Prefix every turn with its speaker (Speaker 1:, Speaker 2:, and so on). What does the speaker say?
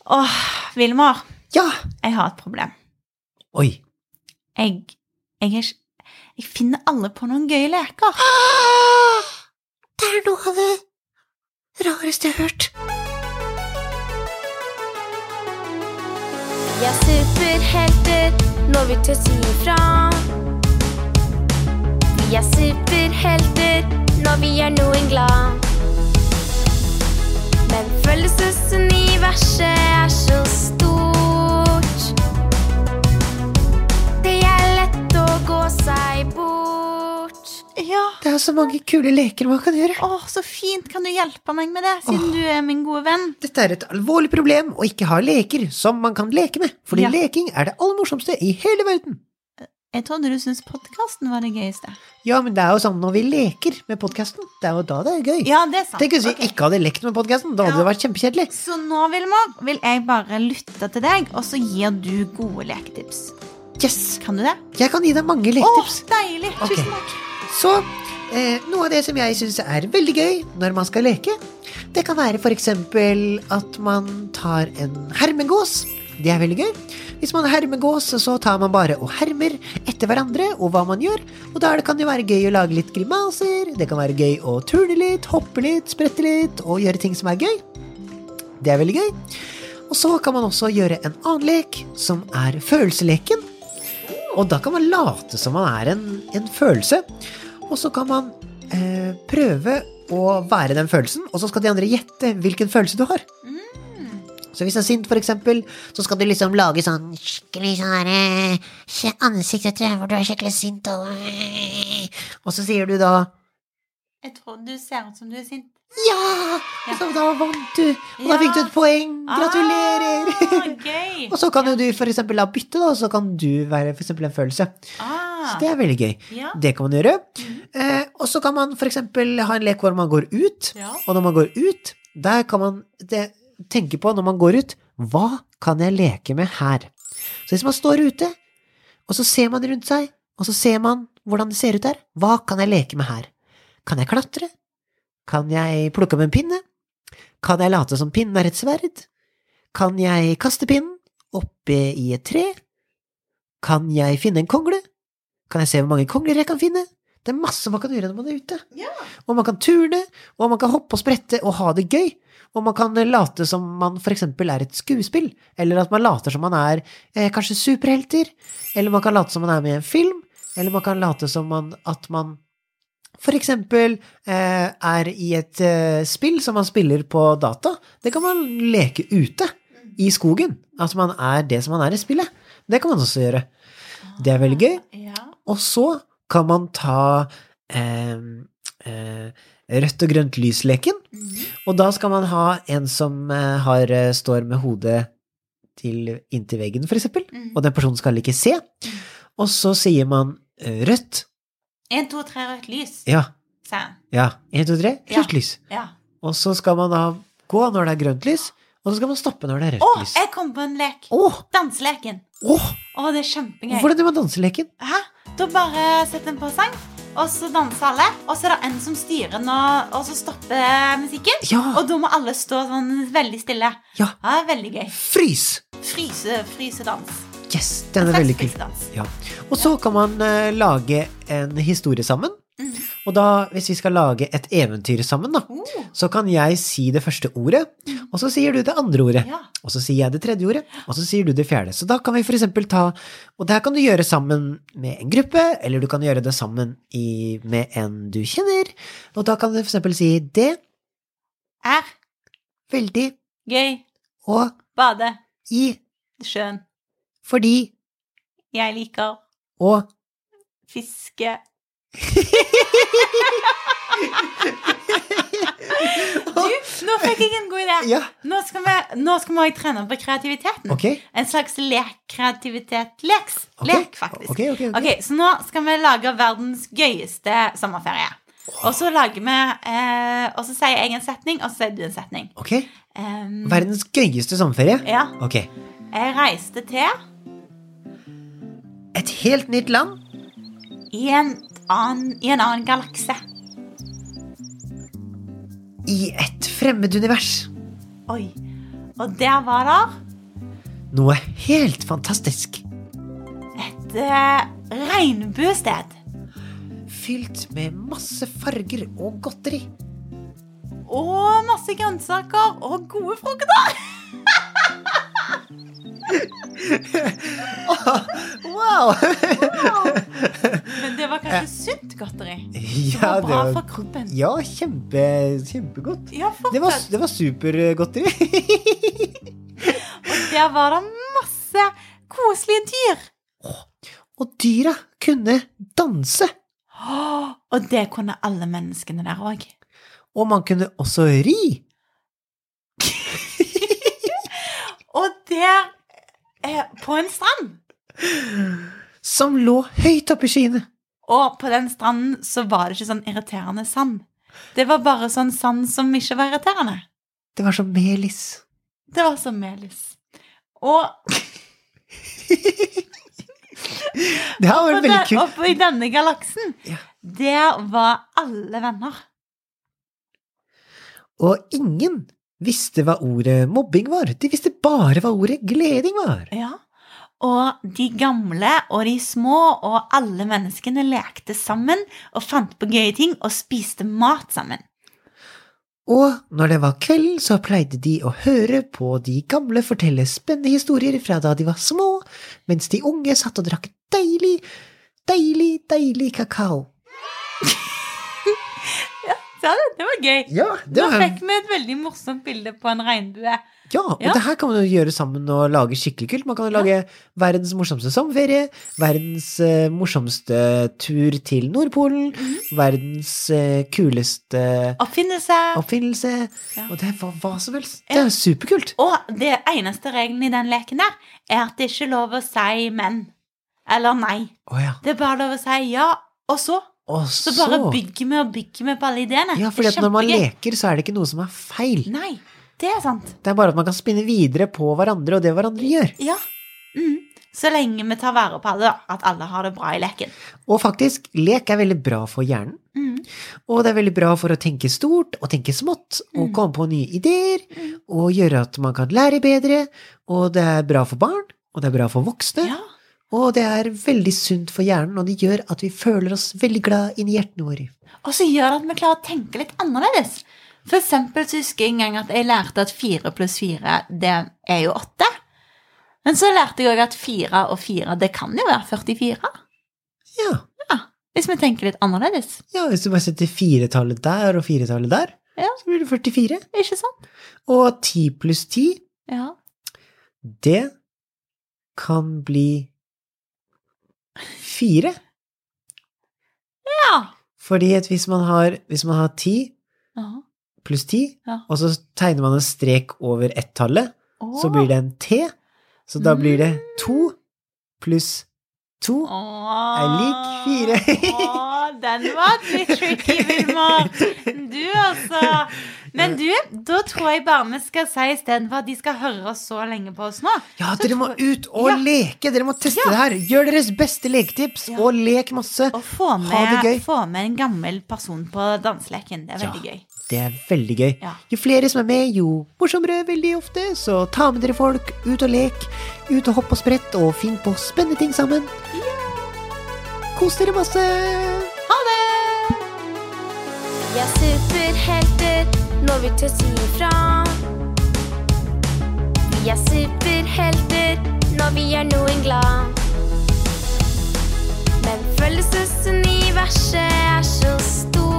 Speaker 1: Åh, Vilmar,
Speaker 2: Ja!
Speaker 1: jeg har et problem.
Speaker 2: Oi.
Speaker 1: Jeg, jeg, er, ikke- jeg finner alle på noen gøye leker.
Speaker 2: Ah! Det er noe av det rareste jeg har hørt.
Speaker 3: Vi er superhelter når vi tør si ifra. Vi er superhelter når vi gjør noen glad. Men følelsesuniverset er så stort. Det er lett å gå seg bort.
Speaker 1: Ja.
Speaker 2: Det er så mange kule leker man kan gjøre.
Speaker 1: Åh, så fint. Kan du hjelpe meg med det, siden du er min gode venn?
Speaker 2: Dette er et alvorlig problem å ikke ha leker som man kan leke med, fordi
Speaker 1: Ja.
Speaker 2: leking er det aller morsomste i hele verden.
Speaker 1: Jeg trodde du syntes podkasten var det gøyeste.
Speaker 2: Ja, men det er jo sånn når vi leker med podkasten, det er jo da det er gøy.
Speaker 1: Ja, det er sant.
Speaker 2: Tenk hvis vi
Speaker 1: Ok.
Speaker 2: ikke hadde lekt med podkasten, da hadde
Speaker 1: Ja.
Speaker 2: det vært kjempekjedelig.
Speaker 1: Så nå, Vilmar, vil jeg bare lytte til deg, og så gir du gode leketips.
Speaker 2: Yes!
Speaker 1: Kan du det?
Speaker 2: Jeg kan gi deg mange
Speaker 1: Åh,
Speaker 2: leketips.
Speaker 1: deilig.
Speaker 2: Ok.
Speaker 1: Tusen takk.
Speaker 2: Så eh, noe av det som jeg syns er veldig gøy når man skal leke, det kan være f.eks. at man tar en hermegås. Det er veldig gøy. Hvis man har hermegås, så tar man bare og hermer etter hverandre og hva man gjør. Og da er det- kan det jo være gøy å lage litt grimaser, det kan være gøy å turne litt, hoppe litt, sprette litt og gjøre ting som er gøy. Det er veldig gøy. Og så kan man også gjøre en annen lek, som er følelseleken. Og da kan man late som man er en, en følelse. Og så kan man eh, prøve å være den følelsen, og så skal de andre gjette hvilken følelse du har.
Speaker 1: Mm.
Speaker 2: Så hvis du er sint, for eksempel, så skal du liksom lage sånn skikkelig sånn derre eh, ansikt, vet du, hvor du er skikkelig sint, og Og så sier du da
Speaker 1: Jeg tror du ser ut som du er sint.
Speaker 2: ja! Så da vant du, og da
Speaker 1: Ja.
Speaker 2: fikk du et poeng. Gratulerer!
Speaker 1: Ah, gøy.
Speaker 2: Og så kan jo du for eksempel la bytte, da, og så kan du være for eksempel en følelse. Så
Speaker 1: Ah, Mm.
Speaker 2: det er veldig gøy.
Speaker 1: ja.
Speaker 2: Det kan man gjøre. Eh, og så kan man for eksempel ha en lek hvor man går ut,
Speaker 1: Ja.
Speaker 2: og når man går ut, der kan man det, tenke på når man går ut, hva kan jeg leke med her? Så hvis man står ute, og så ser man rundt seg, og så ser man hvordan det ser ut der, hva kan jeg leke med her? Kan jeg klatre? Kan jeg plukke opp en pinne? Kan jeg late som pinnen er et sverd? Kan jeg kaste pinnen oppe i et tre? Kan jeg finne en kongle? Kan jeg se hvor mange kongler jeg kan finne? Det er masse man kan gjøre når man er ute.
Speaker 1: Ja.
Speaker 2: Og man kan turne, og man kan hoppe og sprette og ha det gøy. Og man kan eh, late som man for eksempel er et skuespill, eller at man later som man er eh, kanskje superhelter, eller man kan late som man er med i en film, eller man kan late som man, at man for eksempel eh, er i et eh, spill som man spiller på data. Det kan man leke ute i skogen. At man er det som man er i spillet. Det kan man også gjøre. Det er veldig gøy.
Speaker 1: Ja.
Speaker 2: Og så kan man ta eh, eh, rødt og grønt lys-leken.
Speaker 1: Mm-hmm.
Speaker 2: Og da skal man ha en som eh, har, eh, står med hodet til, inntil veggen, for eksempel.
Speaker 1: Mhm.
Speaker 2: Og den personen skal ikke se. Og så sier man eh, rødt.
Speaker 1: En, to, tre, rødt lys,
Speaker 2: Ja,
Speaker 1: sa han.
Speaker 2: ja. Én, to, tre.
Speaker 1: Ja.
Speaker 2: Rødt lys.
Speaker 1: Ja.
Speaker 2: Og så skal man da gå når det er grønt lys, og så skal man stoppe når det er
Speaker 1: Å,
Speaker 2: rødt lys.
Speaker 1: jeg kom på en lek.
Speaker 2: Åh,
Speaker 1: Danseleken.
Speaker 2: åh,
Speaker 1: Å, det er kjempegøy.
Speaker 2: Hvordan gjør man danseleken?
Speaker 1: Hæ? Da bare setter en på sang, og så danser alle. Og så er det en som styrer den, og, og så stopper musikken.
Speaker 2: Ja,
Speaker 1: Og da må alle stå sånn veldig stille.
Speaker 2: Ja.
Speaker 1: det er veldig gøy.
Speaker 2: frys!
Speaker 1: Fryse, frysedans.
Speaker 2: Yes, den er veldig kul.
Speaker 1: Frysedans.
Speaker 2: Ja. Og så kan man eh, lage en historie sammen.
Speaker 1: Mhm.
Speaker 2: Og da, hvis vi skal lage et eventyr sammen, da,
Speaker 1: Oh,
Speaker 2: så kan jeg si det første ordet, og så sier du det andre ordet.
Speaker 1: ja.
Speaker 2: Og så sier jeg det tredje ordet, og så sier du det fjerde. Så da kan vi for eksempel ta Og det her kan du gjøre sammen med en gruppe, eller du kan gjøre det sammen i, med en du kjenner. Og da kan du for eksempel si det,
Speaker 1: Er
Speaker 2: veldig
Speaker 1: gøy.
Speaker 2: og
Speaker 1: Bade.
Speaker 2: i,
Speaker 1: Sjøen.
Speaker 2: fordi
Speaker 1: Jeg liker
Speaker 2: og
Speaker 1: fiske. Du, nå fikk jeg en god idé.
Speaker 2: Ja,
Speaker 1: Nå skal vi, nå skal vi også trene på kreativiteten.
Speaker 2: ok.
Speaker 1: En slags lek, kreativitet, leks.
Speaker 2: ok.
Speaker 1: Lek, faktisk.
Speaker 2: Ok, ok, ok.
Speaker 1: Ok, Så nå skal vi lage verdens gøyeste sommerferie. Og så lager vi eh, Og så sier jeg en setning, og så sier du en setning.
Speaker 2: Ok.
Speaker 1: Em,
Speaker 2: Verdens gøyeste sommerferie.
Speaker 1: ja.
Speaker 2: Ok.
Speaker 1: Jeg reiste til
Speaker 2: Et helt nytt land.
Speaker 1: i en annen, i en annen galakse.
Speaker 2: I et fremmed univers.
Speaker 1: Oi. Og der var det
Speaker 2: Noe helt fantastisk.
Speaker 1: et eh, regnbuested.
Speaker 2: Fylt med masse farger og godteri.
Speaker 1: Og masse grønnsaker og gode frukter.
Speaker 2: Wow!
Speaker 1: Men det var kanskje sunt godteri. Det
Speaker 2: ja,
Speaker 1: var
Speaker 2: det
Speaker 1: bra
Speaker 2: var
Speaker 1: for kroppen.
Speaker 2: Ja, kjempe, kjempegodt.
Speaker 1: Ja, for
Speaker 2: Det var,
Speaker 1: fett.
Speaker 2: det var supergodteri.
Speaker 1: Og der var det masse koselige dyr.
Speaker 2: Og dyra kunne danse.
Speaker 1: Åh, Og det kunne alle menneskene der òg.
Speaker 2: Og man kunne også ri.
Speaker 1: Og der eh, På en strand.
Speaker 2: Som lå høyt oppe i skyene.
Speaker 1: Og på den stranden så var det ikke sånn irriterende sand. Det var bare sånn sand som ikke var irriterende.
Speaker 2: Det var som melis.
Speaker 1: Det var som melis. Og,
Speaker 2: Det her var
Speaker 1: og,
Speaker 2: veldig
Speaker 1: der,
Speaker 2: kult.
Speaker 1: og i denne galaksen,
Speaker 2: Ja.
Speaker 1: der var alle venner.
Speaker 2: Og ingen visste hva ordet mobbing var. De visste bare hva ordet gleding var.
Speaker 1: Ja. Og de gamle og de små og alle menneskene lekte sammen og fant på gøye ting og spiste mat sammen.
Speaker 2: Og når det var kveld, så pleide de å høre på de gamle fortelle spennende historier fra da de var små, mens de unge satt og drakk deilig, deilig, deilig kakao.
Speaker 1: Så det, det var gøy.
Speaker 2: Ja, det
Speaker 1: Nå
Speaker 2: var,
Speaker 1: fikk vi et veldig morsomt bilde på en regnbue.
Speaker 2: ja og
Speaker 1: Ja.
Speaker 2: det her kan man jo gjøre sammen og lage skikkelig kult. Man kan jo lage verdens morsomste sommerferie, verdens eh, morsomste tur til Nordpolen,
Speaker 1: Mhm.
Speaker 2: verdens eh, kuleste
Speaker 1: Oppfinnelse.
Speaker 2: oppfinnelse,
Speaker 1: Ja.
Speaker 2: og det er hva, hva som helst. Det
Speaker 1: Ja.
Speaker 2: er jo superkult.
Speaker 1: Og det eneste regelen i den leken der er at det ikke er lov å si men. Eller nei.
Speaker 2: Å ja.
Speaker 1: Det er bare lov å si ja, og så.
Speaker 2: Og
Speaker 1: Så bare bygger vi og bygger vi på alle ideene.
Speaker 2: Ja,
Speaker 1: Det
Speaker 2: fordi
Speaker 1: er
Speaker 2: at når man
Speaker 1: kjempegøy.
Speaker 2: leker, så er det ikke noe som er feil.
Speaker 1: Nei, det er sant.
Speaker 2: Det er bare at man kan spinne videre på hverandre og det hverandre gjør.
Speaker 1: Ja. Mm. Så lenge vi tar vare på alle, da. At alle har det bra i leken.
Speaker 2: Og faktisk, lek er veldig bra for hjernen.
Speaker 1: Mm.
Speaker 2: Og det er veldig bra for å tenke stort og tenke smått, og
Speaker 1: Mm.
Speaker 2: komme på nye ideer, og gjøre at man kan lære bedre. Og det er bra for barn, og det er bra for voksne,
Speaker 1: Ja.
Speaker 2: og det er veldig sunt for hjernen, og det gjør at vi føler oss veldig glad inni hjertene våre.
Speaker 1: Og så gjør det at vi klarer å tenke litt annerledes. For eksempel så husker jeg en gang at jeg lærte at fire pluss fire, det er jo åtte. Men så lærte jeg òg at fire og fire, det kan jo være 44.
Speaker 2: Ja.
Speaker 1: Hvis vi tenker litt annerledes.
Speaker 2: ja, hvis du bare setter firetallet der og firetallet der,
Speaker 1: Ja.
Speaker 2: så blir det 44.
Speaker 1: Ikke sant?
Speaker 2: Og 10 pluss 10
Speaker 1: Ja.
Speaker 2: Det kan bli fire.
Speaker 1: Ja.
Speaker 2: Fordi at hvis man har, hvis man har ti
Speaker 1: ja.
Speaker 2: pluss ti,
Speaker 1: Ja.
Speaker 2: og så tegner man en strek over ett-tallet, så blir det en T. Så da blir det
Speaker 1: Mm.
Speaker 2: to pluss to.
Speaker 1: er
Speaker 2: lik fire.
Speaker 1: den var litt tricky, Vilmar. Du, altså. Men du, da tror jeg bare vi skal si istedenfor at de skal høre oss så lenge på oss nå.
Speaker 2: Ja, dere må ut og
Speaker 1: Ja.
Speaker 2: leke! Dere må teste
Speaker 1: Ja.
Speaker 2: det her! Gjør deres beste leketips,
Speaker 1: Ja.
Speaker 2: og lek masse!
Speaker 1: Og få
Speaker 2: Ha det
Speaker 1: med,
Speaker 2: gøy.
Speaker 1: få med en gammel person på danseleken. Det er veldig
Speaker 2: Ja.
Speaker 1: gøy.
Speaker 2: Det er veldig gøy.
Speaker 1: Ja.
Speaker 2: Jo flere som er med, jo morsommere veldig ofte. Så ta med dere folk, ut og lek, ut og hopp og sprett, og finn på spennende ting sammen. Kos dere masse!
Speaker 1: Ha det!
Speaker 3: Vi er superhelter når vi tør si ifra. Vi er superhelter når vi gjør noen glad. Men følelsesuniverset er så stort.